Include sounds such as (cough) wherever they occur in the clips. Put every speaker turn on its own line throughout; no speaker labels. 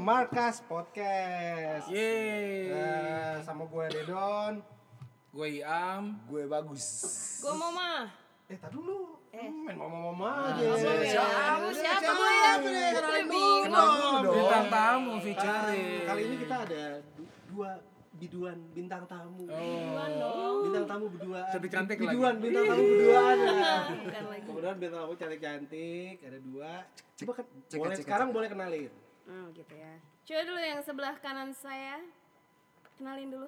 Mas Podcast.
Yeay.
Eh, sama gue Redon.
Gue Iam.
Gue bagus.
Gue mama.
Eh, tadi dulu.
Eh.
Hmm, main mama-mama aja.
Siapa? Siapa gue ya?
Kenalin dulu.
Gue bingung.
dong.
Bintang tamu
Sekarang,
featuring.
Kali ini kita ada du- dua biduan bintang tamu.
Oh.
Bintang tamu berduaan.
Lebih cantik lagi.
biduan, bintang tamu berduaan.
Iya, Bukan lagi.
Kemudian bintang tamu cantik-cantik, ada dua. Coba kan,
cek,
boleh
cek,
sekarang boleh kenalin.
Oh,
Hmm, gitu ya. Coba dulu yang sebelah kanan saya. Kenalin
(laughs)
dulu.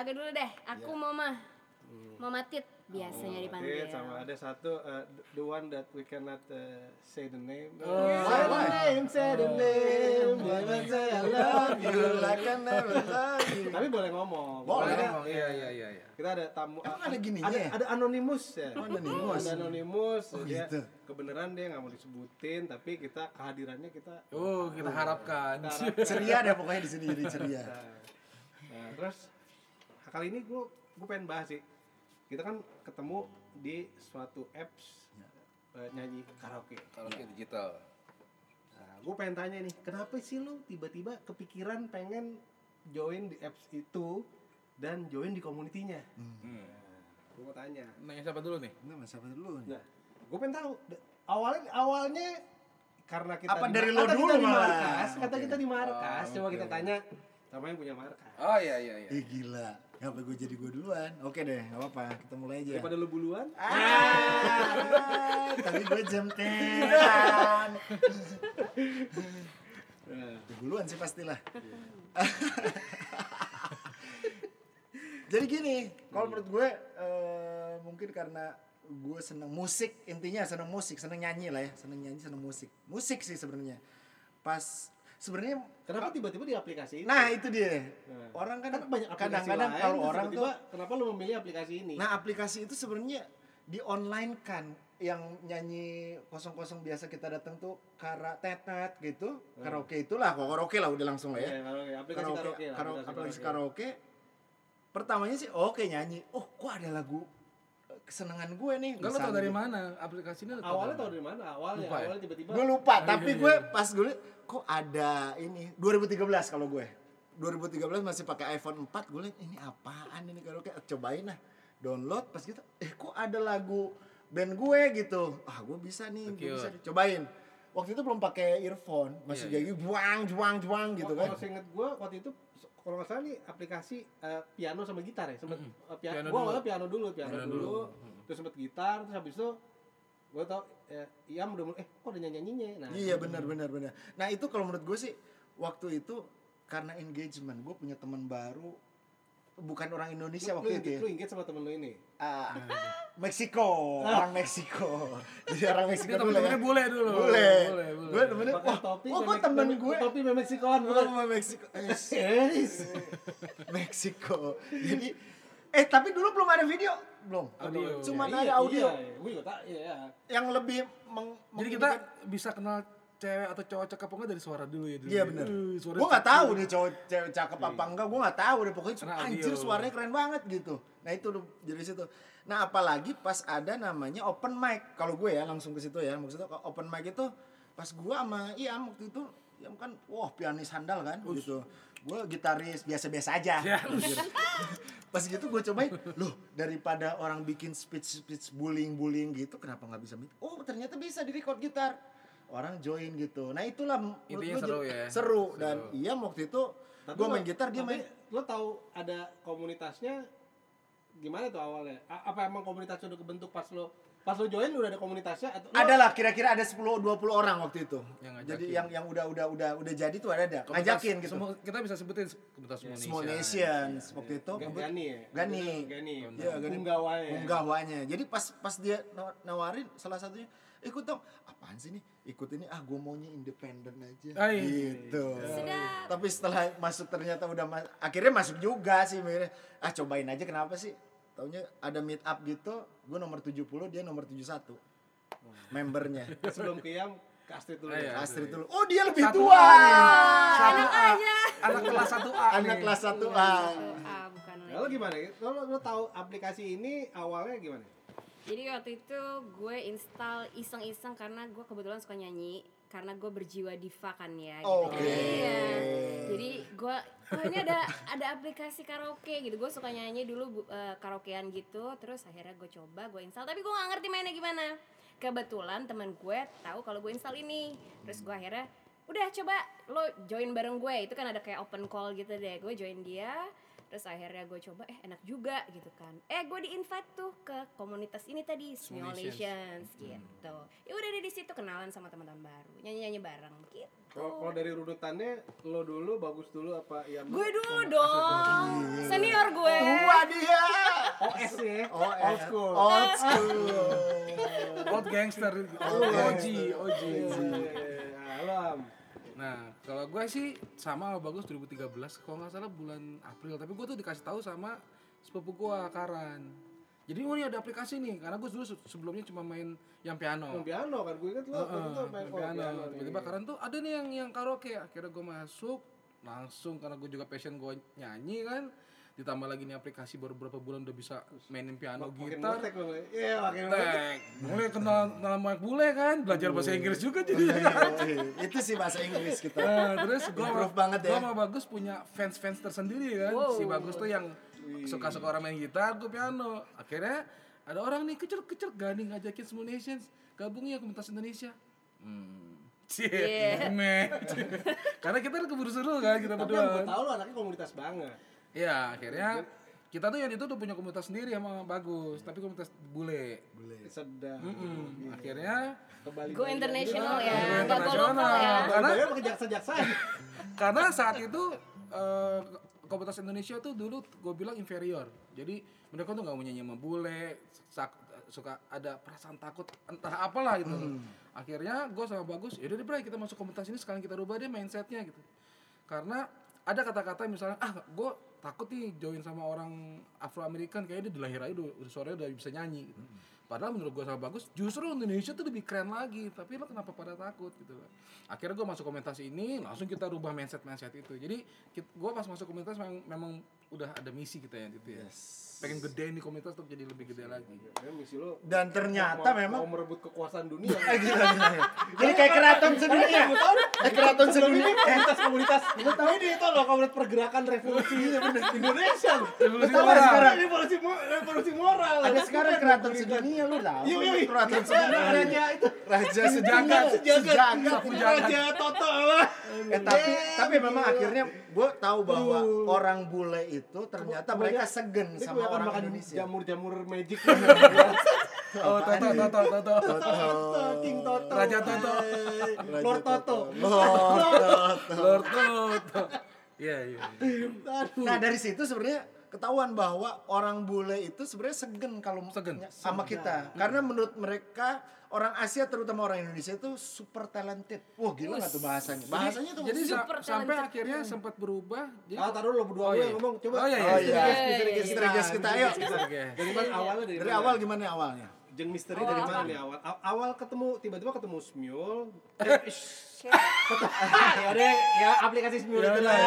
Aku dulu deh. Aku mama. Mama Tit biasanya
Oke,
dipanggil.
Oh, iya, sama ada satu uh, the one that we cannot uh, say the name. say
Oh, why, Oh.
the
why?
name, say the name. Jangan say I love you.
You like a never die.
Tapi boleh ngomong.
Boleh.
Kita,
Oh, iya iya iya iya.
kita ada tamu.
Emang
a-
ada gininya
Ada,
ya?
ada anonimus ya.
Oh, anonimus.
Ada anonimus.
Oh,
dia,
gitu.
Kebenaran dia nggak mau disebutin, tapi kita kehadirannya kita.
Oh, kita harapkan.
(laughs) Ceria deh pokoknya di sini jadi ceria.
Nah, nah, terus kali ini gue gue pengen bahas sih. Kita kan ketemu di suatu apps
Ya.
eh, nyanyi karaoke.
Kalau digital.
Nah, gue pengen tanya nih, kenapa sih lu tiba-tiba kepikiran pengen join di apps itu dan join di komunitinya?
Hmm.
Gue mau tanya.
Nanya siapa dulu nih?
Enggak mas, siapa dulu nih?
Nah, gue pengen tahu da- awalnya awalnya karena kita
Apa
di-
dari lo
kata
dulu
kita di
malah?
markas, kata
Oke.
kita di markas,
Oh,
coba
oke.
kita tanya sama yang punya markas.
Oh iya iya iya.
Ih Eh, gila, kenapa gue jadi gue duluan? Oke deh, gak apa-apa, kita mulai aja
Daripada lu duluan,
Ah, Tadi gue jemtetan
Nah,
Duluan sih pastilah Jadi gini, kalau menurut gue eh, mungkin karena gue seneng musik intinya seneng musik seneng nyanyi lah ya seneng nyanyi seneng musik musik sih sebenarnya pas sebenarnya
kenapa tiba-tiba di aplikasi ini?
nah itu dia
Nah.
orang kan
banyak aplikasi
kadang-kadang
lain,
kalau
terus
orang tuh
tiba-tiba, kenapa lu memilih aplikasi ini?
Nah aplikasi itu sebenarnya di online kan yang nyanyi 00 biasa kita datang tuh kara tetet gitu karaoke itulah kok karaoke lah udah langsung lah ya
Hmm. Iya, karaoke. aplikasi karaoke, lah,
karaoke, aplikasi karaoke pertamanya sih oke nyanyi oh kok ada lagu eh, kesenangan gue nih
Enggak lu tau
gitu.
dari mana aplikasinya?
Awalnya tau dari mana? Awalnya,
Lupa ya?
awalnya tiba-tiba
gue lupa
iya,
tapi gue pas gue liat, kok ada ini 2013 kalau ya? gue 2013 masih pakai iPhone 4 gue liat ini apaan ini karaoke cobain lah download pas gitu eh kok ada lagu band gue gitu ah gue bisa nih gue
Cute.
bisa nih. cobain waktu itu belum pakai earphone masih
Iya, Oh,
jadi juang juang juang gitu kan
Kalau seinget gue waktu itu kalau nggak salah nih aplikasi eh, piano sama gitar ya, sempet eh, pia-
Piano
gua
dulu.
awalnya piano dulu, piano,
Piano
dulu,
dulu.
terus sempet gitar, terus habis itu gue tau eh, Iam udah mulai, eh kok ada nyanyi nyanyinya, nah
Iya benar benar benar. Nah itu kalau menurut gue sih waktu itu karena engagement gue punya teman baru bukan orang Indonesia
lu, lu,
waktu itu
inggit-
ya.
lu inggit sama temen lu ini,
Ah, Meksiko,
Ah.
orang Meksiko. Jadi orang Meksiko
Ini
dulu ya.
temen-temennya bule dulu.
Bule.
Bule, bule.
Gue temennya,
pakai
wah,
topi,
oh gue
memek-
temen
memek-
gue.
topi memek sikoan, (laughs)
Gue
bukan?
sama Meksiko. Eh,
Yes.
Meksiko. Jadi, eh tapi dulu belum ada video. Belum.
Audio.
Cuman
Iya,
ada audio.
iya, iya. Gua juga tak, iya, iya.
Yang lebih meng-
Jadi kita bisa kenal cewek atau cowok cakep apa enggak dari suara dulu ya dulu.
Iya benar.
Eh, suara
Gue nggak
cakep. Iya,
tahu deh cowok cewek cakep apa enggak. Gue nggak tahu deh pokoknya
Karena
anjir
audio.
suaranya keren banget gitu. Nah itu udah dari situ. Nah apalagi pas ada namanya open mic. Kalau gue ya langsung ke situ ya. Maksudnya kalau open mic itu pas gue sama Iam waktu itu Iam kan wah pianis handal kan gitu. Gue gitaris biasa-biasa aja.
Ya.
Anjir. (laughs) pas gitu gue cobain loh daripada orang bikin speech speech bullying bullying gitu kenapa nggak bisa oh ternyata bisa di record gitar orang join gitu nah itulah menurut
Intinya
gue
seru
jadi-
ya.
seru dan iya waktu itu
Tapi
gue
lo-
main gitar dia
tapi
main
Lo tahu ada komunitasnya gimana tuh awalnya? A- apa emang komunitasnya udah kebentuk pas lo pas lo join udah ada komunitasnya atau lo-
adalah kira-kira ada 10 20 orang waktu itu
Yang ngajakin.
jadi yang yang udah udah udah udah jadi tuh ada ada
Komunitas-
ngajakin gitu
semua- kita bisa sebutin komunitas
Small
Indonesia. Iya,
Nations waktu itu
Gani, Gani ya?
Gani.
Gani.
Oh, Iya, Gani.
Unggawanya.
Unggawanya. Jadi pas pas dia naw- nawarin salah satunya ikut dong. Apaan sih nih? Ikut ini ah gue maunya independen aja.
Ay.
Gitu.
Sedap.
Tapi setelah masuk ternyata udah ma- akhirnya masuk juga sih mikirnya. Ah cobain aja kenapa sih? Taunya ada meet up gitu, gue nomor 70, dia nomor 71. Membernya.
Sebelum kiam ke Astrid dulu. ya.
Iya.
Astrid dulu. Oh, dia lebih
Satu
tua.
A
nih.
Satu
Enak
A.
aja.
Anak kelas 1A.
Anak kelas 1A.
Ah, bukan lagi.
Nah, lo gimana? Lo, lo, lo tahu aplikasi ini awalnya gimana?
Jadi waktu itu gue install iseng-iseng karena gue kebetulan suka nyanyi
karena gue berjiwa diva kan ya gitu
Oke.
kan. Iya. Jadi gue oh ini ada ada aplikasi karaoke gitu. Gue suka nyanyi dulu bu- eh, karaokean gitu. Terus akhirnya gue coba gue install tapi gue gak ngerti mainnya gimana. Kebetulan teman gue tahu kalau gue install ini. Terus gue akhirnya udah coba lo join bareng gue itu kan ada kayak open call gitu deh gue join dia terus akhirnya gue coba eh enak juga gitu kan eh gue di invite tuh ke komunitas ini tadi simulations gitu ya udah deh di situ kenalan sama teman-teman baru nyanyi nyanyi bareng gitu
Oh.
Kalau kalau dari runutannya lo dulu bagus dulu apa ya?
gue dulu dong senior gue
Wah dia.
OS ya.
Oh, eh.
old school.
Old school.
Old gangster, Oji, Oji.
Nah, lo Am.
Nah, kalau gue sih sama bagus 2013 kalau nggak salah bulan April, tapi gue tuh dikasih tahu sama sepupu gue Karan. Jadi oh ini ada aplikasi nih, karena gue dulu se- sebelumnya cuma main yang
Yang
piano.
piano kan gue ingat lo waktu itu
Heeh,
main
main
oh,
piano.
piano. nih.
Tiba-tiba Karan tuh ada nih yang yang karaoke. Akhirnya gue masuk langsung karena gue juga passion gue nyanyi kan. Ditambah lagi nih aplikasi baru berapa bulan udah bisa mainin piano
Makin
gitar.
ngutek lo. Iya, makin ngutek.
Tek, mulai kenal kenal banyak bule kan, belajar bahasa Inggris juga jadi.
Iya, Itu sih bahasa Inggris gitu. kita.
Nah, terus gue
Improve banget ya.
Gue sama Bagus punya fans-fans tersendiri kan. Si Bagus tuh yang suka-suka orang main gitar, gue piano. Akhirnya ada orang nih kecil-kecil ganding ngajakin semua nations gabung ya komunitas Indonesia. Hmm. Cie, meh. (laughs) Karena kita udah keburu seru kan kita
Tapi yang
berdua.
gue tahu lo anaknya komunitas banget.
Iya, akhirnya kita tuh yang itu tuh punya komunitas sendiri sama Bagus, tapi komunitas bule.
Sedang.
Hmm, Akhirnya
Kembali.
gue international ya nggak gue lokal
internasional.
ya
Karena
Karena
pakai jaksa-jaksa.
karena saat itu eh, komunitas Indonesia tuh dulu gue bilang inferior jadi mereka tuh nggak mau nyanyi sama bule sak- suka ada perasaan takut entah apalah gitu akhirnya gue sama bagus yaudah deh Bray kita masuk komunitas ini sekarang kita rubah deh mindsetnya gitu karena ada kata-kata misalnya ah gue takut nih join sama orang Afro American kayaknya dia di lahir aja udah, udah suaranya udah bisa nyanyi gitu. Padahal menurut gue sama bagus, justru Indonesia tuh lebih keren lagi. Tapi lo kenapa pada takut gitu loh. Akhirnya gue masuk komunitas ini, langsung kita rubah mindset-mindset itu. Jadi gue pas masuk komunitas memang, memang udah ada misi kita ya gitu ya. Pengen gede nih komunitas untuk jadi lebih gede lagi.
Ya, misi lo
Dan
mau-
ternyata memang
mau merebut kekuasaan
(laughs)
dunia.
Jadi kayak keraton sedunia. Eh keraton sedunia. Eh,
komunitas-komunitas lu tahu ini itu loh komunitas pergerakan revolusi Indonesia
Revolusi
Lu tahu ada
moral.
sekarang revolusi mo- revolusi moral
Ada sekarang keraton
sedunia
sedunia lu tahu.
Iya, iya, iya.
Keraton sedunia.
raja itu
Raja
Sejagat,
sedunia. Sejagat.
raja Toto
Eh, tapi tapi memang akhirnya gue tahu bahwa orang bule itu ternyata mereka
Iya. Ini
segen sama
kebanyakan
orang
makan
Indonesia.
jamur-jamur magic
Oh, Toto, Toto, Toto.
Toto, King Toto
Raja Toto.
Lord Toto
Lord Toto. Iya, iya.
(laughs)
iya.
Nah dari situ sebenarnya ketahuan bahwa orang bule itu sebenarnya segen kalau
Segen.
sama kita. Karena menurut mereka orang Asia terutama orang Indonesia itu super talented. Wah gila nggak tuh bahasanya? Bahasanya tuh
Jadi sa-
Super
sampai
talented. Iya.
akhirnya sempat berubah. Jadi,
Ah, taruh lo berdua
Oh,
gue
iya.
yang ngomong coba.
Oh, iya, iya.
Oh iya,
Misteri
misteri
guest
misteri guest kita ayo.
oke.
Dari mana awalnya dari
Dari
mana?
awal gimana awalnya?
Jeng misteri dari mana nih awal? Aw- Awal ketemu tiba-tiba ketemu Smule. Eh, shh. Ketemu- (laughs) ya udah ya aplikasi Smule itu lah.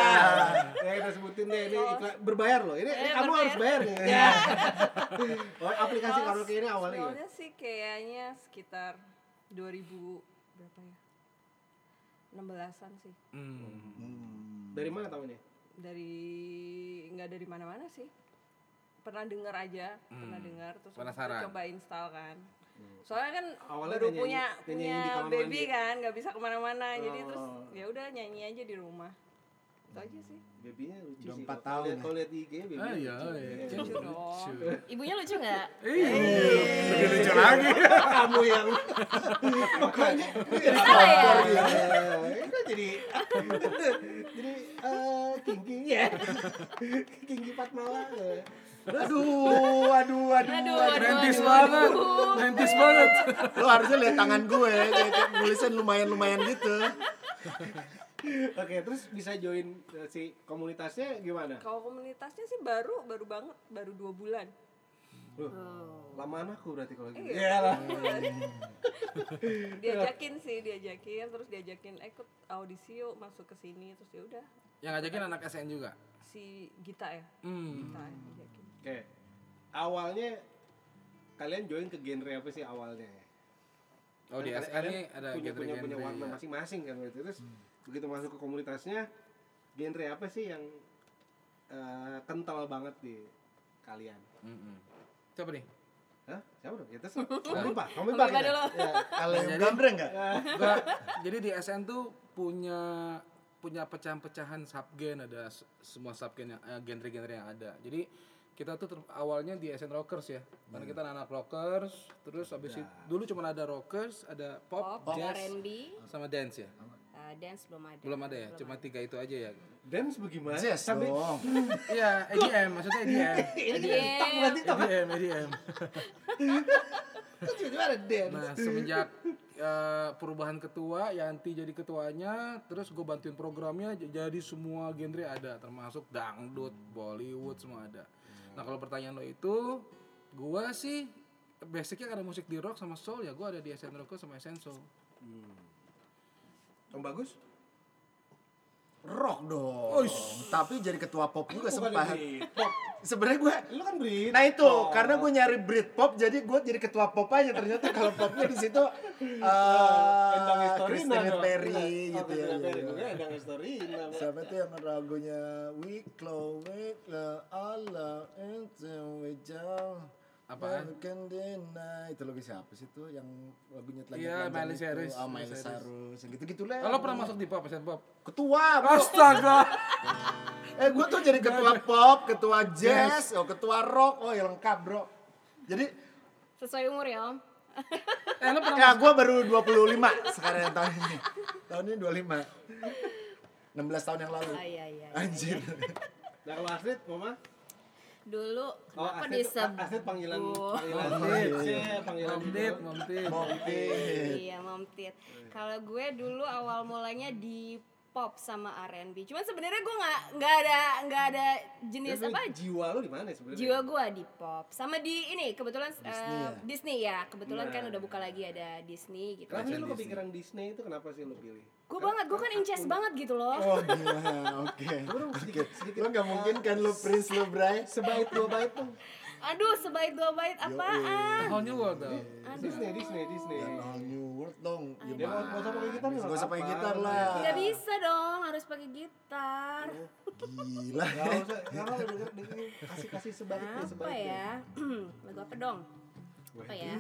Ya kita sebutin deh ini iklan- berbayar loh. Ini, ini
Eh,
kamu
berbayar.
harus bayar nih. Ya. (laughs) Oh, aplikasi karaoke ini
ya?
awalnya ya? gimana?
Soalnya sih kayaknya sekitar 2000 berapa ya? 16-an sih.
Hmm.
Dari mana tahunnya?
Dari nggak dari mana-mana sih. Pernah denger aja, pernah dengar terus habis itu
Hmm, Penasaran.
coba install kan. Soalnya kan
Hmm. Awalnya
baru
udah
punya
nyanyi- udah nyanyi di
punya
kamar
baby
mandi.
kan, nggak bisa kemana-mana. Jadi terus
Oh.
ya udah nyanyi aja di rumah. Itu aja sih.
Hmm,
Babynya lucu
Udah
sih.
empat
Kalau
tahun
lihat-
ya.
Kalau lihat di IG baby.
Ah, iya, iya.
Lucu dong.
Lucu.
ibunya lucu nggak
Iya, lebih lucu lagi.
Kamu yang makanya
salah ya
Iya, itu jadi jadi eh kinky ya. Kinky Fatmala. eh.
Aduh, aduh, aduh.
aduh aduh
Nentis
aduh
banget, nentis banget.
Lo harusnya lihat tangan gue, kayak kayak nulisnya lumayan-lumayan gitu.
Oke, terus bisa join eh, si komunitasnya gimana?
Kalau komunitasnya sih baru baru banget, baru dua bulan.
Loh, lamaan aku berarti kalau gitu.
Iya.
Iya lah.
(laughs) diajakin sih, diajakin terus diajakin "Eh, ikut audisi yuk masuk ke sini terus ya udah
Yang ngajakin anak SN juga.
si Gita ya.
Hmm.
Gita yang diajakin.
Oke. Awalnya kalian join ke genre apa sih awalnya?
Oh, di
Kan
SL
kadang
nih ada
punya punya,
genre-genre,
punya warna
ya.
masing-masing kan berarti. Terus
Hmm.
begitu masuk ke komunitasnya, genre apa sih yang eh, kental banget di kalian?
ya? Mm-mm. Siapa nih?
Hah? Siapa dong? Ya terserah. Kamu pak, kamu
Kamu
pak.
Pak
kita.
dulu.
Ya.
Kalau yang gambreng nggak?
Gua, jadi di SN tuh punya punya pecahan-pecahan subgen ada s- semua subgen yang eh, genre-genre yang ada. Jadi kita tuh ter- awalnya di SN rockers ya. Karena kita anak rockers, terus habis itu dulu cuma ada rockers, ada pop,
Pop,
jazz,
R&B,
sama dance ya.
eh, dance belum ada.
Belum ada ya, cuma tiga itu aja ya.
Dance bagaimana?
Jazz Nah, dong.
Iya, EDM maksudnya EDM.
Tak bukan TikTok.
EDM, EDM.
Kan tiba-tiba ada dance.
Nah, semenjak eh, perubahan ketua, Yanti jadi ketuanya, terus gue bantuin programnya, j- jadi semua genre ada, termasuk dangdut, Bollywood semua ada. Nah, kalau pertanyaan lo itu, gue sih basicnya karena musik di rock sama soul ya, gue ada di SN Rock sama SN Soul.
Om bagus?
Rock dong. Tapi jadi ketua pop juga
Bukan
sempat.
dari pop.
Sebenarnya gue
Lu kan beri.
Nah itu
Oh.
karena gue nyari Britpop jadi gue jadi ketua pop aja ternyata kalau popnya di
(laughs)
situ
Endang
eh
Historina
Christina
dong.
Perry
Oh,
gitu ya.
Christina Perry
iya.
juga Endang Historina.
Siapa tuh yang lagunya We Chloe La Allah Until We Jump
Apaan?
Never Can Deny Itu lagu siapa sih tuh yang lagunya
Iya, Miley
itu?
Cyrus.
Oh
Miley
Miley Cyrus Yang gitu-gitu lah
Kalau Eh, pernah masuk di pop, SN Pop?
Ketua bro.
Astaga!
Eh gue tuh jadi ketua pop, ketua jazz, oh, ketua rock Oh ya lengkap bro Jadi
Sesuai umur ya om.
eh, lo pernah
Ya, gue baru 25 sekarang tahun ini. Tahun ini 25. 16 tahun yang lalu.
Ah, iya, iya. (laughs)
Anjir.
Nah kalau atlet, mama?
Dulu
Oh,
kenapa
atlet,
disebut?
atlet panggilan
Oh.
panggilan
Iya,
Atlet.
Cek, panggilan
Mamtit,
gitu.
mamtit.
Monti.
Iya, Mom Tit. Kalau gue dulu awal mulanya di pop sama R&B. Cuman sebenarnya gue nggak nggak ada nggak ada jenis
Tapi
apa
Jiwa lu di mana sebenarnya?
jiwa gue di pop sama di ini kebetulan eh, Disney, ya?
ya?
kebetulan kan
Nah.
udah buka lagi ada Disney gitu.
Kenapa sih lu kepikiran Disney itu kenapa sih lu pilih?
Gue banget, gue kan incest banget gitu loh.
Oh gila, oke.
Coba dong
Oke.
sedikit, sedikit.
Lo gak mungkin kan lo Prince lo Ya, Bray?
Sebait dua bait tuh.
Aduh, sebaik dua bait apaan?
Whole New World dong.
Iya. Disney, Disney, Disney.
Ya, all new world dong.
Dia mau
Gimana?
mau sama pakai gitar
Gak usah pakai
apa-apa.
gitar lah.
Nggak bisa dong, harus pakai gitar.
Gila.
Gak usah, gak apa-apa, denger, denger. kasih-kasih sebaiknya,
Apa
sebaiknya.
ya? (clears throat) Lagu apa dong? Apa ya?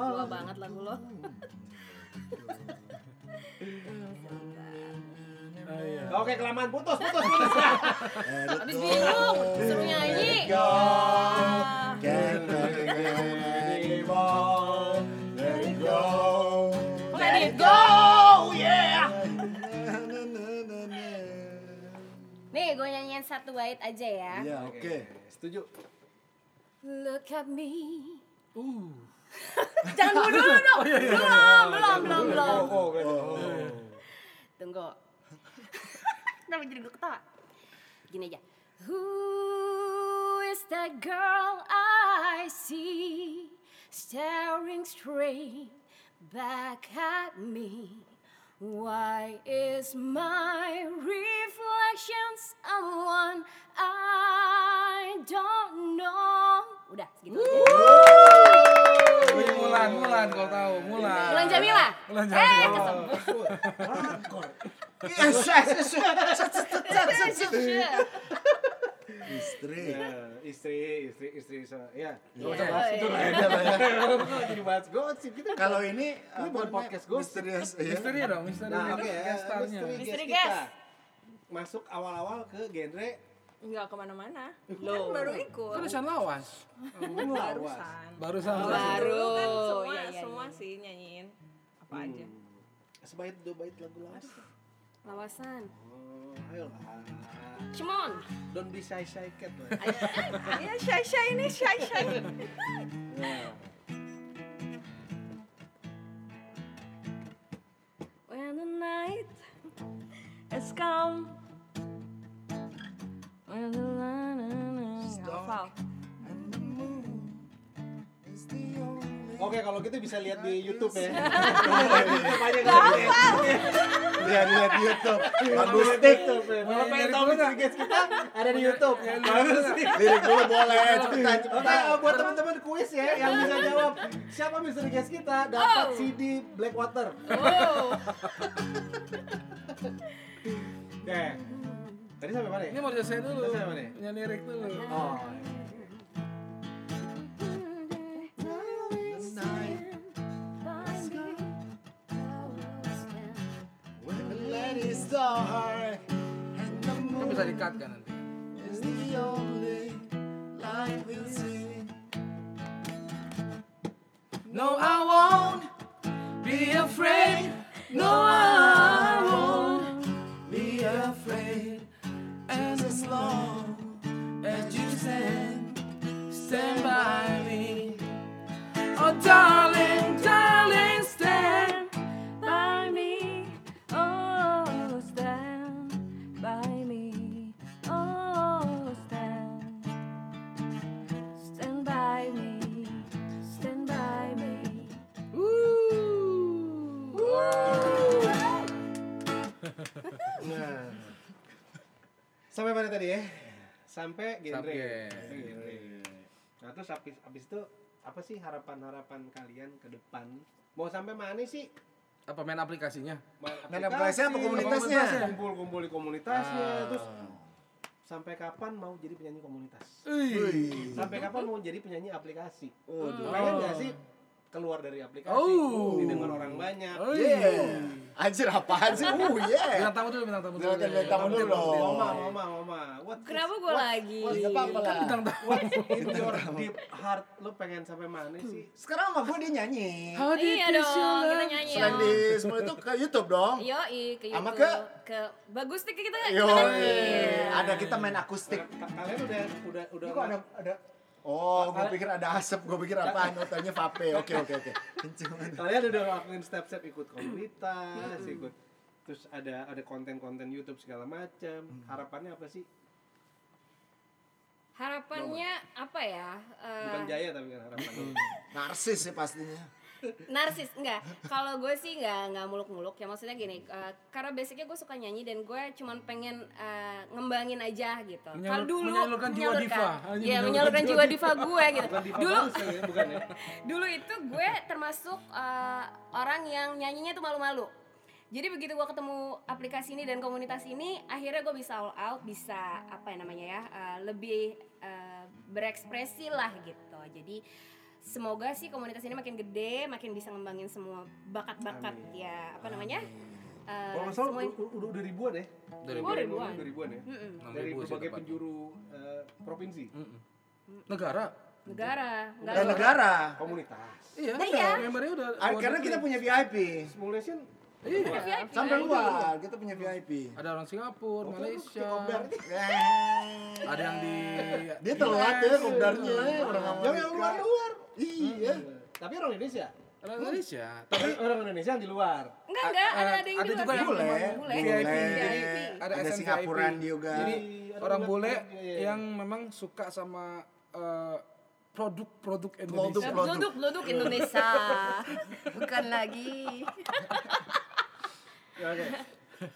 Tua banget lagu lo.
Oke, kelamaan putus, putus,
(laughs)
putus.
Habis bingung, suruh nyanyi. Ah.
Can't take it anymore. Let it go.
Let it go.
go, yeah.
Nih, gue nyanyiin satu bait aja ya.
Ya, oke.
Setuju.
Look at me.
Uh.
(laughs) Jangan dulu dulu dong. Belum, belum, belum, belum.
Oh, gue ada. Oh.
Tunggu. (laughs) Kenapa jadi gue ketawa? Gini aja. Who is that girl I see staring straight back at me? Why is my reflection someone I don't know? Udah, segitu aja.
Ini Mulan, Mulan kalau tahu, Mulan.
Mulan Jamila.
Mulan
Eh,
Jamila.
(laughs) Yes, yes, yes, yes, yes, yes.
kesel.
Istri.
Ya, istri, istri, istri, so- ya. Gak
Iya.
usah bahas itu lah.
Ada banyak.
Kenapa jadi bahas gosip kita?
Kalau ini
Ini bukan podcast gosip.
Misterius, ya.
Misteri dong, misteri.
Nah, oke,
Kan starnya.
misteri guest
Misteri
kita.
guest.
Masuk awal-awal ke genre
Enggak kemana-mana. Lo Kan baru ikut.
Kan Sean Lawas.
lawas.
Barusan.
Baru
Oh,
sama.
Baru.
Dulu kan semua,
Iya, iya,
semua sih nyanyiin apa aja.
Sebaik dua bait lagu lawas.
Lawasan.
Oh, ayolah.
Cemon.
Don't be shy shy cat lah.
Iya, shy shy ini shy shy.
Nah,
When the night has come When the na na na
It's dark.
Hafal.
And the moon is the only
Oke, kalau gitu bisa lihat di YouTube ya. Banyak
lihat YouTube bagus
di YouTube ya.
Kalau
Kalau
pengen
pengen
tahu
tahu
nggak?
guys kita ada di YouTube. Bagus nih.
lirik dulu boleh cepetan
Oke,
cepetan
eh, buat teman-teman kuis ya yang bisa jawab siapa misteri guest kita dapat
Oh.
CD Blackwater. (laughs)
Wow.
Oke. Tadi sampai mana ya?
Ini mau selesai dulu.
Selesai apa nih?
Punya lirik dulu.
Oh.
When the light is dark and the
Kan
moon
bisa di-cut kan nanti.
is the only light we'll see.
No, I won't be afraid. No, I won't be afraid. And as long as you stand, stand by me. Oh, darling, darling, stand.
by me. Oh, stand by me. Oh, stand. Stand by me. Stand by me.
Nah. Sampai mana tadi ya? Sampai genre.
Sampai.
Sampai genre. Nah, terus habis habis itu apa sih harapan-harapan kalian ke depan? Mau sampai mana sih?
Apa main aplikasinya?
Main
Main aplikasi apa komunitasnya? Ah.
Kumpul-kumpul di komunitasnya, terus sampai kapan mau jadi penyanyi komunitas? Sampai kapan mau jadi penyanyi aplikasi?
Waduh.
Pengen nggak sih keluar dari aplikasi,
Oh.
didengar orang banyak?
Oh,
Yeah. Anjir apaan sih? Oh
Bintang
yeah.
tamu dulu, bintang tamu dulu.
Silakan bintang tamu dulu dong.
Mama, mama, mama. What is-
Kenapa gue lagi?
Gak apa-apa
Kan
lah.
What in your deep heart lo pengen sampai mana sih?
Sekarang sama gue dia nyanyi.
How did
Iya
you
dong,
show
kita
love?
nyanyi
Selain di
yuk.
semua itu ke YouTube dong.
Yoi, ke
Sama
YouTube.
ke-
ke bagus nih kita.
Yo,
Iya.
ada kita main akustik.
Ka- Kalian udah udah udah
Ini kok ada ada Oh, gue pikir ada asap, gue pikir apaan, hotelnya vape, oke oke (laughs) oke Kenceng banget.
kalian udah ngelakuin step-step ikut komunitas,
Hmm.
ikut terus ada ada konten-konten YouTube segala macam.
Hmm.
Harapannya apa sih?
Harapannya apa ya? Eh,
Bukan jaya tapi kan harapan. lo.
Narsis sih pastinya
narsis enggak kalau gue sih nggak nggak muluk-muluk ya maksudnya gini eh, karena basicnya gue suka nyanyi dan gue cuman pengen eh, ngembangin aja gitu kalau
Menyalur-
dulu
menyalurkan jiwa diva. Hanya
ya
menyalurkan
menyalurkan jiwa diva gue gitu
Bukan di
dulu
Dulu ya, bukan ya.
dulu itu gue termasuk eh, orang yang nyanyinya tuh malu-malu jadi begitu gue ketemu aplikasi ini dan komunitas ini akhirnya gue bisa all out bisa apa ya namanya ya eh, lebih eh, berekspresi lah gitu jadi semoga sih komunitas ini makin gede makin bisa ngembangin semua bakat-bakat ya apa namanya Eh,
Kalau nggak salah
semua-
udah, udah, udah ribuan ya.
Dari
Gua
Udah
ribuan.
Udah ribuan ya.
Mm-mm.
Enam
Dari
ribu sih
berbagai
tepatnya.
penjuru eh, provinsi,
Negara.
negara
Eh,
Dan
negara
negara
komunitas.
Iya,
Nah, iya.
membernya udah.
Ah, Karena kita punya VIP
Simulation
Iya.
Sampai luar, kita punya VIP
Ada orang Singapura, Malaysia.
Eh.
Ada yang di Iya,
Dia telat ya kopdarnya orang
yang yang
Amerika.
luar luar.
Iya.
Tapi orang Indonesia.
Orang Indonesia.
Tapi orang Indonesia yang di luar.
enggak enggak ada ada yang
Eh, Ada
di luar
juga yang
sana.
bule.
bule
Bule.
VIP.
Ada,
Ada
SNVIP.
Singapuran juga.
Jadi
Iya,
orang
ada
bule
Singapura, iya, iya.
yang memang suka sama eh, produk-produk Indonesia.
Produk.
Loduk, loduk Indonesia. (laughs) Bukan lagi.
Ya, Oke.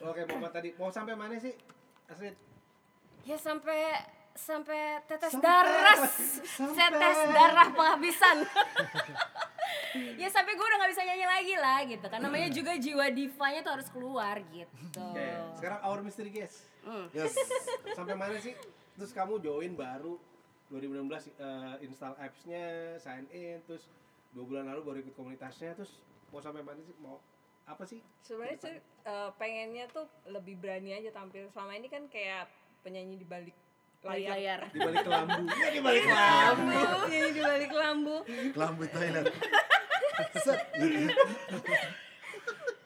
Oke, Bapak tadi mau sampai mana sih? Asli.
Ya sampai sampai tetes darah, tetes darah penghabisan. (laughs) ya sampai gue udah nggak bisa nyanyi lagi lah gitu. Kan namanya juga jiwa divanya tuh harus keluar gitu.
Oke, sekarang our mystery guest.
Hmm.
Yes.
Sampai mana sih? Terus kamu join baru 2016 eh, install apps-nya, sign in, terus dua bulan lalu baru ikut komunitasnya, terus mau sampai mana sih? Mau apa sih?
Sebenarnya sih eh, pengennya tuh lebih berani aja tampil. Selama ini kan kayak penyanyi di balik
Balik
layar.
layar.
Di balik kelambu. Iya, di balik
Lambu, penyanyi di balik lambu.
Lambu Thailand. Set.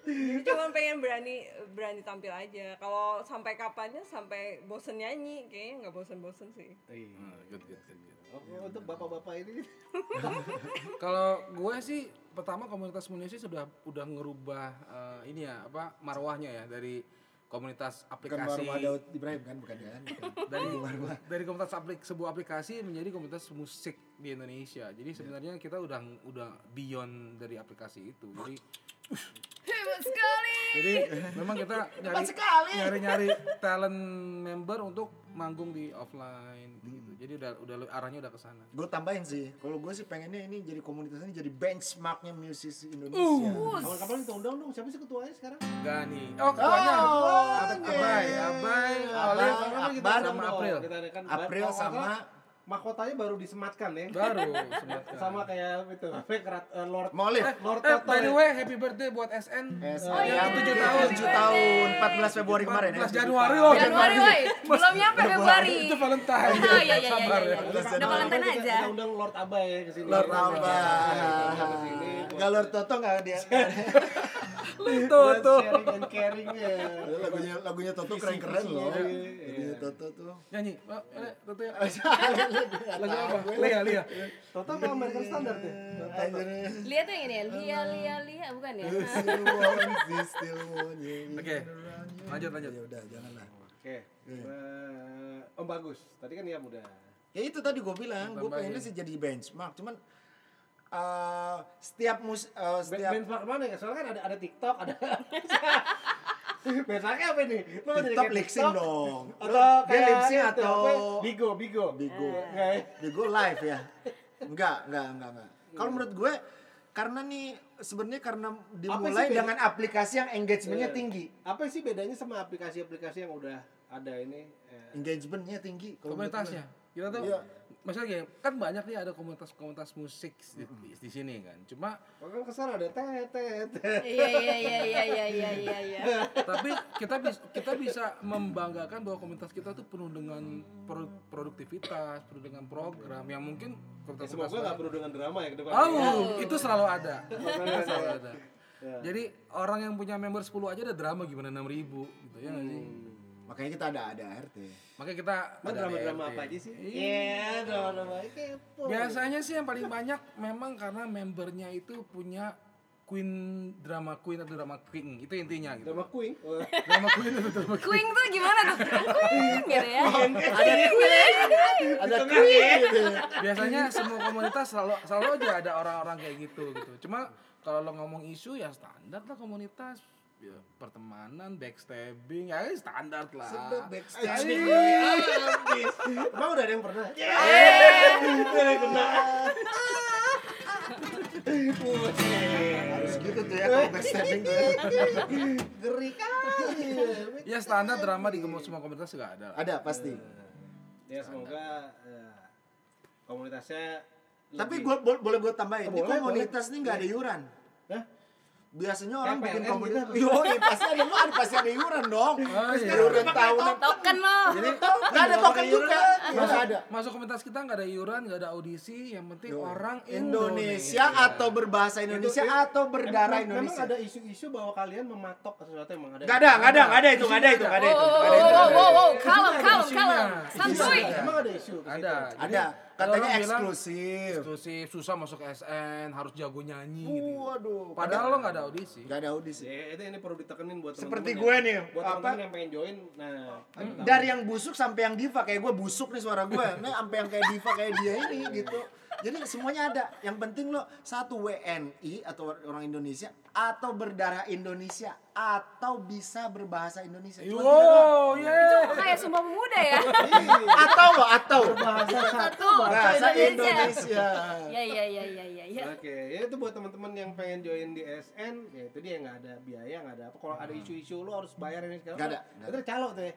Jadi cuma pengen berani berani tampil aja. Kalau sampai kapannya sampai bosen nyanyi, kayaknya nggak bosen-bosen sih.
Iya. Oke, untuk bapak-bapak ini
Kalau gue sih pertama komunitas Indonesia sudah udah ngerubah eh, ini ya apa marwahnya ya dari komunitas
Bukan
aplikasi
Warma Daud Ibrahim kan, bukan kan? Bukan.
(laughs) dari dari komunitas aplik sebuah aplikasi menjadi komunitas musik di Indonesia. Jadi sebenarnya kita udah udah beyond dari aplikasi itu. Jadi
Hebat sekali.
jadi memang kita nyari nyari nyari talent member untuk manggung di offline gitu. Jadi udah udah le- arahnya udah ke sana.
Gue tambahin sih, kalau gue sih pengennya ini jadi komunitas ini jadi benchmarknya musisi Indonesia.
Uh.
Kapan-kapan kita undang dong, siapa sih ketuanya sekarang?
Gani. Oh, ketuanya.
Oh,
Ab-
oke.
Abai,
ya.
Abai, Olive,
Abang,
Kapan-kapan kita
Akbar
undang
sama
dong.
April.
Kita adakan
April
kalau nggak
sama-
salah, mahkotanya baru disematkan ya. (laughs)
Baru sematkan.
Sama kayak itu, apa, kerat, eh, Lord
Molif.
Lord
Eh,
Toto.
by the
ya.
way, happy birthday buat SN.
Oh,
iya. Tujuh tahun.
Tujuh tahun, 14 Februari kemarin ya.
14 Januari, oh,
Januari, woi. Belum nyampe Februari.
Itu Valentine.
Oh, iya, iya, iya,
Sabar
iya,
ya.
iya. Udah Valentine
Kita-
aja.
Kita undang Lord Abay ya ke sini.
Lord Alba.
Kita kesini (laughs) buat
Enggak Lord Toto enggak dia.
Toto.
Sharing and caring ya.
Padahal (laughs) lagunya lagunya Toto keren-keren loh.
Iya, iya.
Lagunya Toto tuh.
Nyanyi. Oh, eh, Toto (laughs) ya. Lagu
Lagunya
apa? Iya. Lia, Lia.
Total apa American Standard ya?
Lihat tuh yang ini ya. Lia, Lia, Lia. Bukan ya?
Oke, lanjut, lanjut.
Ya udah, janganlah.
Oke. Eh, Om Bagus, tadi kan ya muda.
Ya itu tadi gue bilang, gue pengennya sih jadi benchmark. Cuman eh, setiap mus eh,
Ben
setiap
benchmark mana ya? Soalnya kan ada ada TikTok, ada (laughs) Benchmarknya apa nih? Lo jadi
TikTok
kayak
lip sync dong.
Atau
Lo- dia
kayak
lip sync
itu,
atau
apa? Bigo, Bigo.
Bigo.
Enggak ya?
Bigo live ya? Enggak, enggak, enggak, enggak. Kalau menurut gue karena nih sebenarnya karena dimulai
beda-
dengan aplikasi yang engagementnya
Iya.
tinggi.
Apa sih bedanya sama aplikasi-aplikasi yang udah ada ini? Eh,
Engagementnya tinggi. kalau menurut
komunitasnya kita tuh
Iya.
maksudnya gini, kan banyak nih ada komunitas-komunitas musik di, di sini kan cuma
orang kan kesana ada tet tet. tet.
Iya, iya, iya, iya, iya, iya, iya, iya.
tapi kita bisa kita bisa membanggakan bahwa komunitas kita tuh penuh dengan pro- produktivitas penuh dengan program yang mungkin
Ya,
komunitas
semoga nggak perlu dengan drama ya ke depan.
oh itu selalu ada Iya. Itu selalu ada jadi orang yang punya member 10 aja ada drama gimana 6000 ribu gitu ya nggak sih
gue. Makanya kita ada ada ART.
makanya kita
Emang
ada
drama-drama
ART.
apa aja sih?
Iya.
Iya, drama-drama kepo.
Biasanya sih yang paling banyak memang karena membernya itu punya queen drama queen atau drama king itu intinya gitu.
Drama Queen. Wah.
Drama queen atau drama king.
Queen tuh gimana tuh? Queen gitu ya.
Iya.
Ada queen gitu.
Biasanya semua komunitas selalu selalu aja ada orang-orang kayak gitu gitu. Cuma kalau lo ngomong isu ya standar lah komunitas Ya, pertemanan, backstabbing, ya standar lah. Iya,
Backstage.
Emang udah ada yang pernah?
Harus gitu tuh ya kalau backstabbing tuh. ya.
Ngeri kali.
Ya standar drama di kemo- semua komunitas juga ada. lah.
Ada pasti.
Ya semoga eh, komunitasnya lebih-
Tapi gua bo- boleh gue tambahin,
Oh,
di
boleh,
komunitas
boleh.
nih nggak ada iuran.
Hah?
Biasanya orang
Kayak
bikin
PLN
komunitas.
gitu.
Yo, pasti ada lu ada pasti ada iuran dong.
iya.
Ah, Iuran tahunan. Iya.
Token lo.
Nggak ada token juga. Nggak ada.
Masuk komunitas kita nggak ada iuran, nggak ada audisi, yang penting orang
Iya. Indonesia atau berbahasa Indonesia atau
Emang-
berdarah Indonesia.
Memang ada isu-isu bahwa kalian mematok sesuatu emang ada.
Nggak ada, nggak ada, nggak ada itu, nggak ada itu, nggak ada
Oh, oh,
itu.
oh,
nggak ada itu.
oh, oh, oh, kalem, kalem, kalem.
Isu
Santuy.
ada. Iya, Emang ada isu. ke
ada
situ?
Jadi,
Ada,
kalau
katanya
orang bilang,
eksklusif.
eksklusif susah masuk SN harus jago nyanyi gitu
Waduh.
padahal lo nggak ada audisi
Nggak ada audisi.
Ya, itu ini perlu ditekenin buat
Seperti
teman-teman
gue
yang-
nih,
buat
apa?
teman-teman yang pengen join. Nah, kita-
dari yang busuk sampai yang diva kayak gue busuk nih suara gue nah sampai yang kayak diva kayak dia ini gitu jadi semuanya ada yang penting lo satu WNI atau orang Indonesia atau berdarah Indonesia atau bisa berbahasa Indonesia Cuma tiga doang.
wow yeah.
Kayak sumpah pemuda ya.
(laughs)
atau lo atau
bahasa
Satu.
bahasa Indonesia
Ya, ya, ya, ya, ya, ya.
Oke, ya itu buat teman-teman yang pengen join di SN, ya itu dia nggak ada biaya, nggak ada apa. Kalau ada isu-isu lu harus bayar ini segala.
Hmm. Nggak ada,
macam.
nggak
Itu calo tuh ya.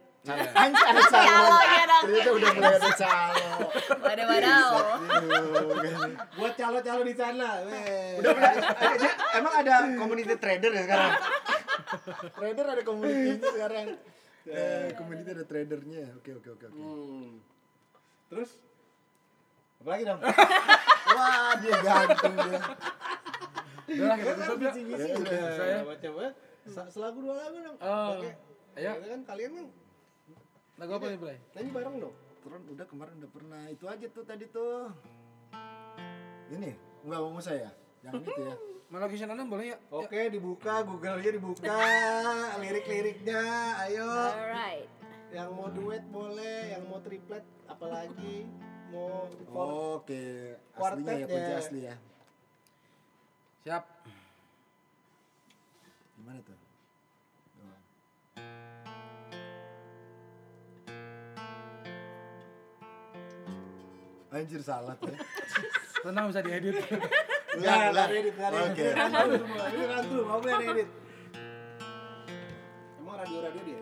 Anjir ada calon
Calonnya dong.
ternyata udah mulai ada calon
Waduh, waduh.
Buat calo-calo di
(laughs)
sana. weh.
udah mulai- ada- dia- emang ada community trader ya sekarang trader ada community (laughs) sekarang eh, community ada tradernya oke oke oke oke
Hmm. Terus apa lagi dong?
(laughs) Wah, dia ganteng dia.
udah kita
Kan
tutup ya
bisi-bisi udah
Saya.
macam apa? Sa- Selaku dua lagu dong.
Oh,
Oke.
ayo.
Ya kan kalian kan
lagu apa nih Bray?
nyanyi bareng dong.
Tron udah kemarin udah pernah itu aja tuh tadi tuh. Ini nggak mau saya, yang itu ya.
Melody Shannon boleh ya?
Oke, dibuka, Google-nya dibuka, lirik-liriknya, ayo.
Alright.
Yang mau duet boleh, yang mau triplet apalagi, mau four-
Oke, aslinya ya, kunci
Quartetnya.
asli ya.
Siap.
Gimana tuh? Anjir salah (laughs) tuh.
Tenang bisa diedit.
Nggak,
Ulang,
nggak
ulang.
edit, nggak edit.
Oke.
Rantau semua, ini rantau, nggak boleh ada edit. Emang radio-radio dia?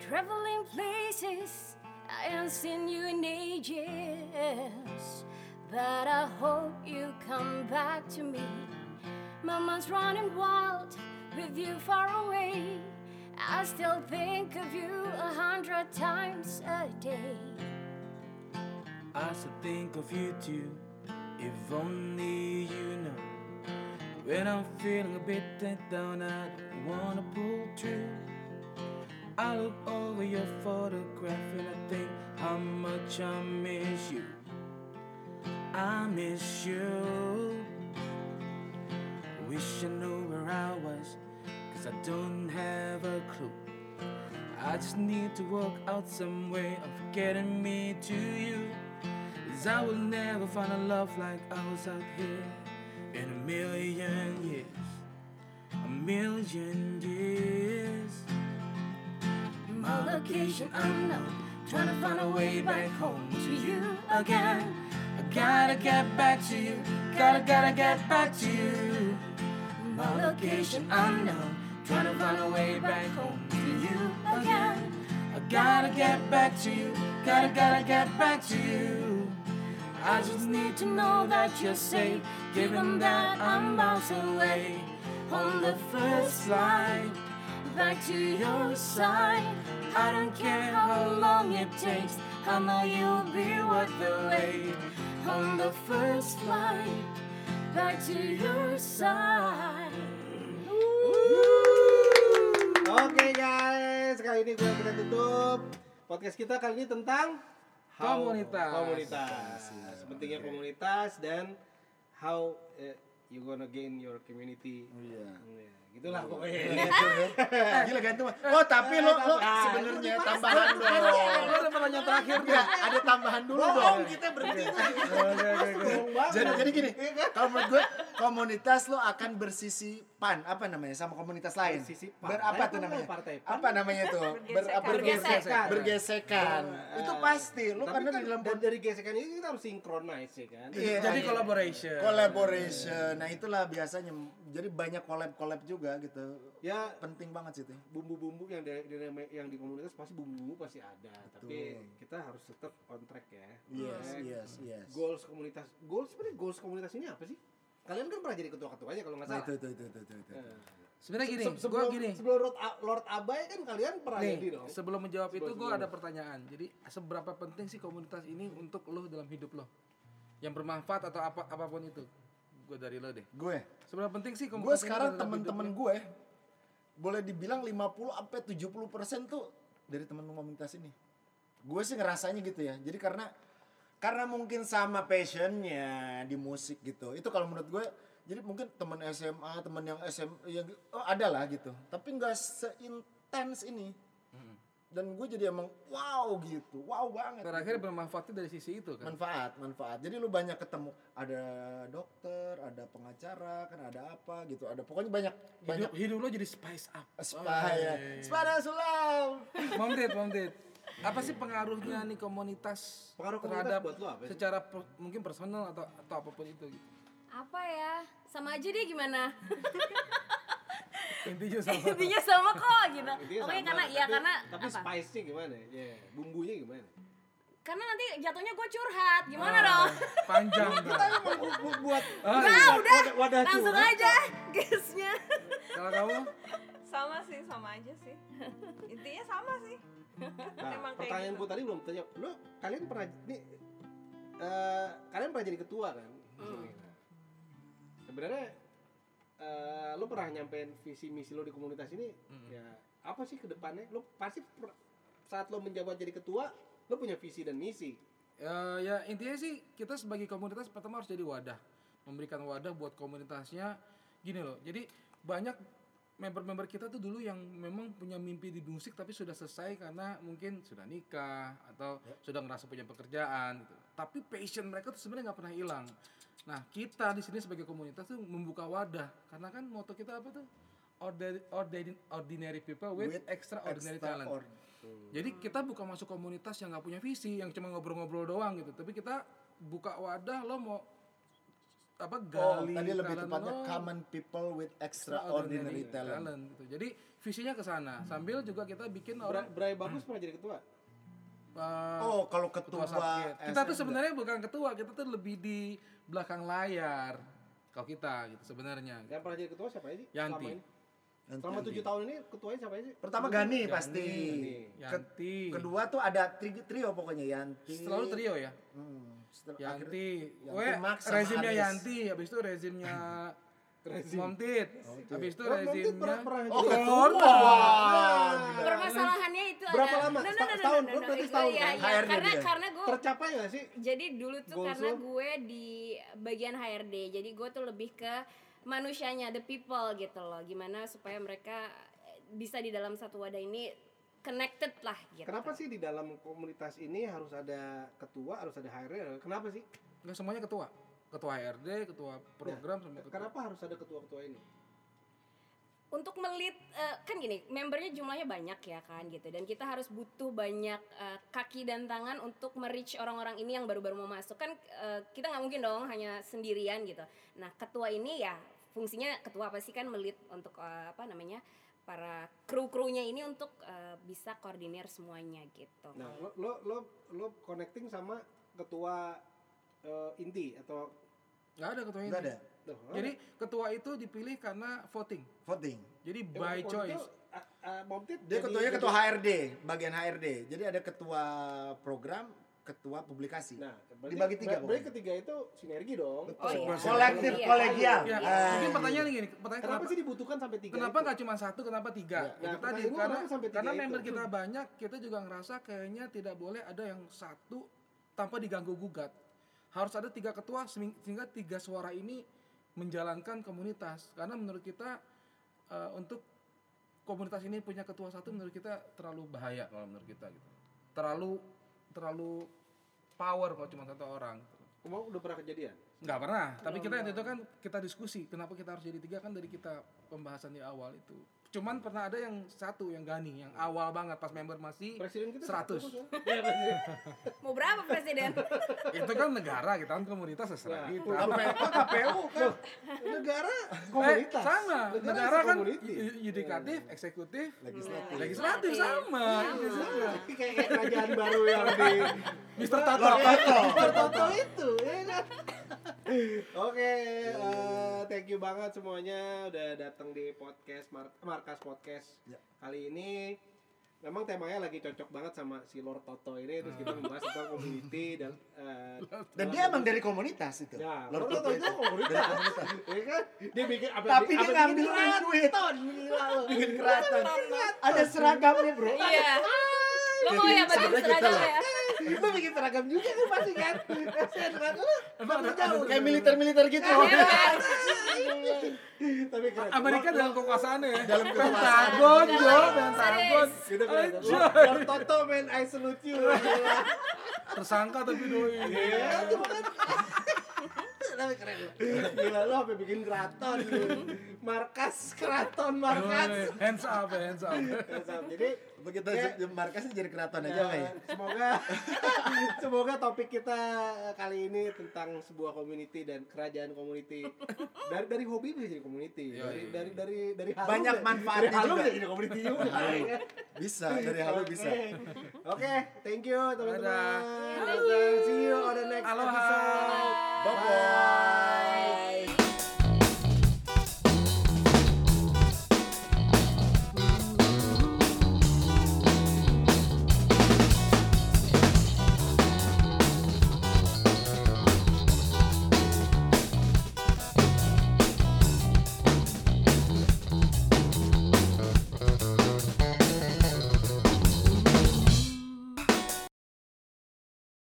Traveling places I haven't seen you in ages. But I hope you come back to me. Mama's running wild with you far away. I still think of you a hundred times a day.
I still think of you too, if only you know. When I'm feeling a bit let down, I don't wanna pull through. I look over your photograph and I think how much I miss you. I miss you. Wish I knew where I was, cause I don't have a clue. I just need to work out some way of getting me to you. Cause I will never find a love like ours out here in a million years. A million years. My location unknown, trying to find a way back home to you again. I gotta get back to you, gotta, gotta get back to you. My location unknown, trying to find a way back home to you again. I gotta get back to you, gotta, gotta get back to you. I just need to know that you're safe, given that I'm miles away. On the first flight, back to your side. I don't care how long it takes, I know you'll be worth the wait. On the first flight, back to your side.
Oke guys, kali ini gue kita tutup podcast kita kali ini tentang how-
Komunitas.
komunitas, pentingnya komunitas dan how eh, you gonna gain your community.
Iya.
Ya, gitulah pokoknya.
Gila gantung. Oh, tapi lo lo sebenarnya tambahan dong.
Ada pertanyaan terakhir
Enggak, ada tambahan dulu dong. Kita berhenti.
Bohong banget.
Jadi jadi gini,
Iya kan?
kalau menurut gue komunitas lo akan bersisi pan apa namanya sama komunitas lain.
Bersisipan.
Berapa
Saya
tuh
pun
namanya?
tahu partai pan.
Apa namanya tuh? Ber,
Bergesekan.
bergesekan.
Bergesekan.
Bergesekan. Itu pasti lo
Nah, Tapi
karena
kan
di dalam
dan dari gesekan ini kita harus synchronize ya kan.
Iya,
Jadi
iya.
collaboration.
collaboration. Nah, itulah biasanya jadi banyak collab-collab juga gitu.
Ya
Penting banget sih itu.
bumbu-bumbu yang di, di- yang di komunitas pasti bumbu-bumbu pasti ada, tapi kita harus tetap on track ya.
Yes,
Track,
yes, yes.
goals komunitas goals sebenarnya goals komunitas ini apa sih kalian kan pernah jadi ketua ketuanya kalau nggak
Nah,
salah
itu itu itu itu itu. itu.
Nah.
Sebenarnya gini,
Se-
gue
sebelum
gini.
sebelum Lord, A- Lord Abai kan kalian pernah jadi
Nih,
dong
sebelum menjawab itu gue ada pertanyaan. Jadi seberapa penting sih komunitas ini untuk lo dalam hidup lo? Yang bermanfaat atau apa apapun itu? Gue dari lo deh.
Gue
Seberapa penting sih
gue
komunitas ini dalam
sekarang
hidup ya.
temen-temen
lo?
gue boleh dibilang 50 sampai 70 persen tuh dari temen komunitas ini gue sih ngerasanya gitu ya jadi karena karena mungkin sama passionnya di musik gitu itu kalau menurut gue jadi mungkin temen SMA temen yang SM yang oh ada lah gitu tapi nggak seintens ini dan gue jadi emang wow gitu wow banget
Terakhir bermanfaatnya dari sisi itu kan.
manfaat manfaat jadi lu banyak ketemu ada dokter ada pengacara kan ada apa gitu ada pokoknya banyak banyak
Hidup, hidup lo jadi spice up.
Spaya. Spada sulam.
Mom Ded, Mom Ded. Apa sih pengaruhnya nih komunitas
Pengaruh komunitas
terhadap
buat lo apa sih?
secara per- mungkin personal atau atau apapun itu gitu.
Apa ya? Sama aja deh
(laughs)
gimana? (laughs)
Intinya sama.
Intinya sama kok gitu.
Intinya
Oke,
sama,
karena ya
tapi-
karena
tapi
apa?
spice-nya gimana ya bumbunya gimana
Karena nanti jatuhnya gue curhat.
Ah,
Gimana dong?
iya.
Panjang.
kita
Bang.
emang bu- bu- buat
Ah,
Nah,
iya.
udah.
wadah- wadah Nah,
Langsung
curhat,
aja (laughs) guysnya.
Kalau kamu
sama sih sama aja sih intinya sama sih
nah,
Emang kayak
pertanyaan
gitu.
gue tadi belum tanya lo kalian pernah nih eh, kalian pernah jadi ketua kan
Hmm.
sebenarnya eh, lo pernah nyampein visi misi lo di komunitas ini ya apa sih kedepannya lo pasti per- saat lo menjabat jadi ketua Lo punya visi dan misi.
Ya, ya intinya sih kita sebagai komunitas pertama harus jadi wadah, memberikan wadah buat komunitasnya. Gini loh, jadi banyak member-member kita tuh dulu yang memang punya mimpi di musik tapi sudah selesai karena mungkin sudah nikah atau sudah ngerasa punya pekerjaan gitu. Tapi passion mereka tuh sebenarnya nggak pernah hilang. Nah kita di sini sebagai komunitas tuh membuka wadah karena kan moto kita apa tuh? Ordinary, ordinary people with,
With
extraordinary talent.
extraor-
Jadi kita bukan masuk komunitas yang nggak punya visi, yang cuma ngobrol-ngobrol doang gitu. Tapi kita buka wadah lo mau apa
Oh,
gali
tadi lebih
talent
tepatnya
lo,
common people with extraordinary talent. Hmm.
gitu. Jadi visinya ke sana. Sambil juga kita bikin
Bra
orang
Bray Bagus pernah jadi ketua.
uh,
Oh, kalau
ketua
ketua,
satgas.
eh,
Kita tuh sebenarnya bukan ketua, kita tuh lebih di belakang layar. Kalau kita gitu sebenarnya.
Yang pernah jadi ketua siapa aja sih?
Yanti.
Selama ini. Selama tujuh tahun ini ketuanya siapa aja sih?
Pertama Gani pasti. Ke-
Yanti.
kedua tuh ada tri- trio pokoknya Yanti.
Selalu trio ya.
Hmm, setel- akhirnya-
Yanti,
Yanti
gue
Max sama
rezimnya
Anies.
Yanti, habis itu rezimnya
(laughs)
Momtit, habis itu
Wah, Mamtit
rezimnya
pernah- pernah
Oh,
jadi
ketua.
Permasalahannya itu
Ah, Berapa
ada.
lama?
No, no, no,
Seta-
no, no,
setahun?
no,
Lu
no,
berarti
itu-
setahun
iya,
kan?
iya.
HRD
Karena
dia.
karena gue
Tercapai gak sih?
jadi dulu tuh
Goals
karena
lu?
gue di bagian HRD. Jadi gue tuh lebih ke manusianya, the people gitu loh. Gimana supaya mereka eh, bisa di dalam satu wadah ini connected lah gitu.
Kenapa sih di dalam komunitas ini harus ada ketua, harus ada HRD? Kenapa sih?
nggak semuanya ketua, ketua HRD, ketua program sama ketua.
Kenapa harus ada ketua-ketua ini?
untuk melit eh, kan gini membernya jumlahnya banyak ya kan gitu dan kita harus butuh banyak eh, kaki dan tangan untuk merich orang-orang ini yang baru-baru mau masuk kan eh, kita nggak mungkin dong hanya sendirian gitu nah ketua ini ya fungsinya ketua apa sih kan melit untuk eh, apa namanya para kru krunya ini untuk eh, bisa koordinir semuanya gitu
Nah, lo lo lo, lo connecting sama ketua eh, inti atau
Nggak ada ketua
Nggak ada.
Duh, eh,
Jadi ketua itu dipilih karena voting.
Voting.
Jadi
eh,
by
waktu
choice.
itu, ah, ah, Momtit
Dia
jadi-
ketuanya
jadi-
ketua HRD, bagian HRD. Jadi ada ketua program, ketua publikasi.
Nah, berarti,
dibagi tiga.
Berarti
pokoknya.
ketiga itu sinergi dong.
Oh, iya.
Kolektif
Iya.
kolegial.
Ya,
Ah.
mungkin pertanyaan gini, pertanyaan
Kenapa
kenapa,
sih dibutuhkan sampai tiga?
kenapa
itu?
nggak cuma satu, kenapa
Ya,
tiga?
nah,
itu tadi
pertanyaan lu
karena
kenapa sampai tiga
karena
itu?
member kita banyak, kita juga ngerasa kayaknya tidak boleh ada yang satu tanpa diganggu gugat. Harus ada tiga ketua seming- sehingga tiga suara ini menjalankan komunitas. Karena menurut kita eh, untuk komunitas ini punya ketua satu menurut kita terlalu bahaya kalau menurut kita gitu. Terlalu terlalu power kalau cuma satu orang. gitu.
Kamu udah pernah kejadian?
Nggak pernah, tapi kita waktu itu kan kita diskusi kenapa kita harus jadi tiga kan dari kita pembahasan di awal itu. Cuman pernah ada yang satu yang gani yang awal banget pas member masih
Presiden kita
100.
Iya, presiden.
mau berapa presiden
(laughs) itu kan negara kita kan
Nah,
komunitas terserah kita.
KPU,
(laughs)
KPU kan.
Negara
Eh,
komunitas. Nah.
sama,
Negara
negara kan
community.
yu- yudikatif, eksekutif,
Legislatif.
legislatif sama. Iya, sama.
Tapi kayak kayak kerajaan baru yang di
Mister
Nah,
Tato.
Lord Toto.
Toto itu. ya kan? Oke, eh, thank you banget semuanya udah datang di podcast Mar- Markas Podcast
Ya.
kali ini. Memang temanya lagi cocok banget sama si Lord Toto ini terus kita membahas tentang community dan eh,
Dan
dalam
dia emang dari komunitas itu. (laughs)
Ya,
Lord
Lord Toto itu komunitas. Iya kan? Dia bikin apa?
Tapi dia
apa-
ngambil
bikin
duit. duit.
gila lo.
Bikin keraton. Ada seragamnya bro.
iya lo mau ya bagi
Sebenarnya kita
seragam
lah.
ya
Lu bikin seragam juga kan pasti kan? Kasian kan lu. Tapi jauh.
Kayak militer-militer gitu.
Iya.
Tapi keren.
Amerika dalam kekuasaannya ya. Dalam
kekuasaan.
Pentagon, Jo, Pentagon.
Iya. Gitu keren.
Anjay.
Lord Toto man, I salute you. Gila.
Tersangka tapi doi.
Iya, itu kan. Tapi keren lu. Gila lu sampai bikin keraton. lu. Markas keraton markas.
Doi, Hands up, hands up.
Jadi
Begitu
Iya.
markasnya jadi keraton
Ya,
aja lah ya.
Semoga (laughs) semoga topik kita kali ini tentang sebuah community dan kerajaan community. Dari dari hobi bisa jadi community.
Iya,
dari,
iya,
dari dari dari halu
Banyak
bisa- dari
manfaatnya
halu
juga.
bisa jadi community juga.
Halu. Bisa, dari halu bisa.
Oke. Oke, thank you teman-teman.
Eh. Dadah.
See you on the next
Aloha.
episode. Iya.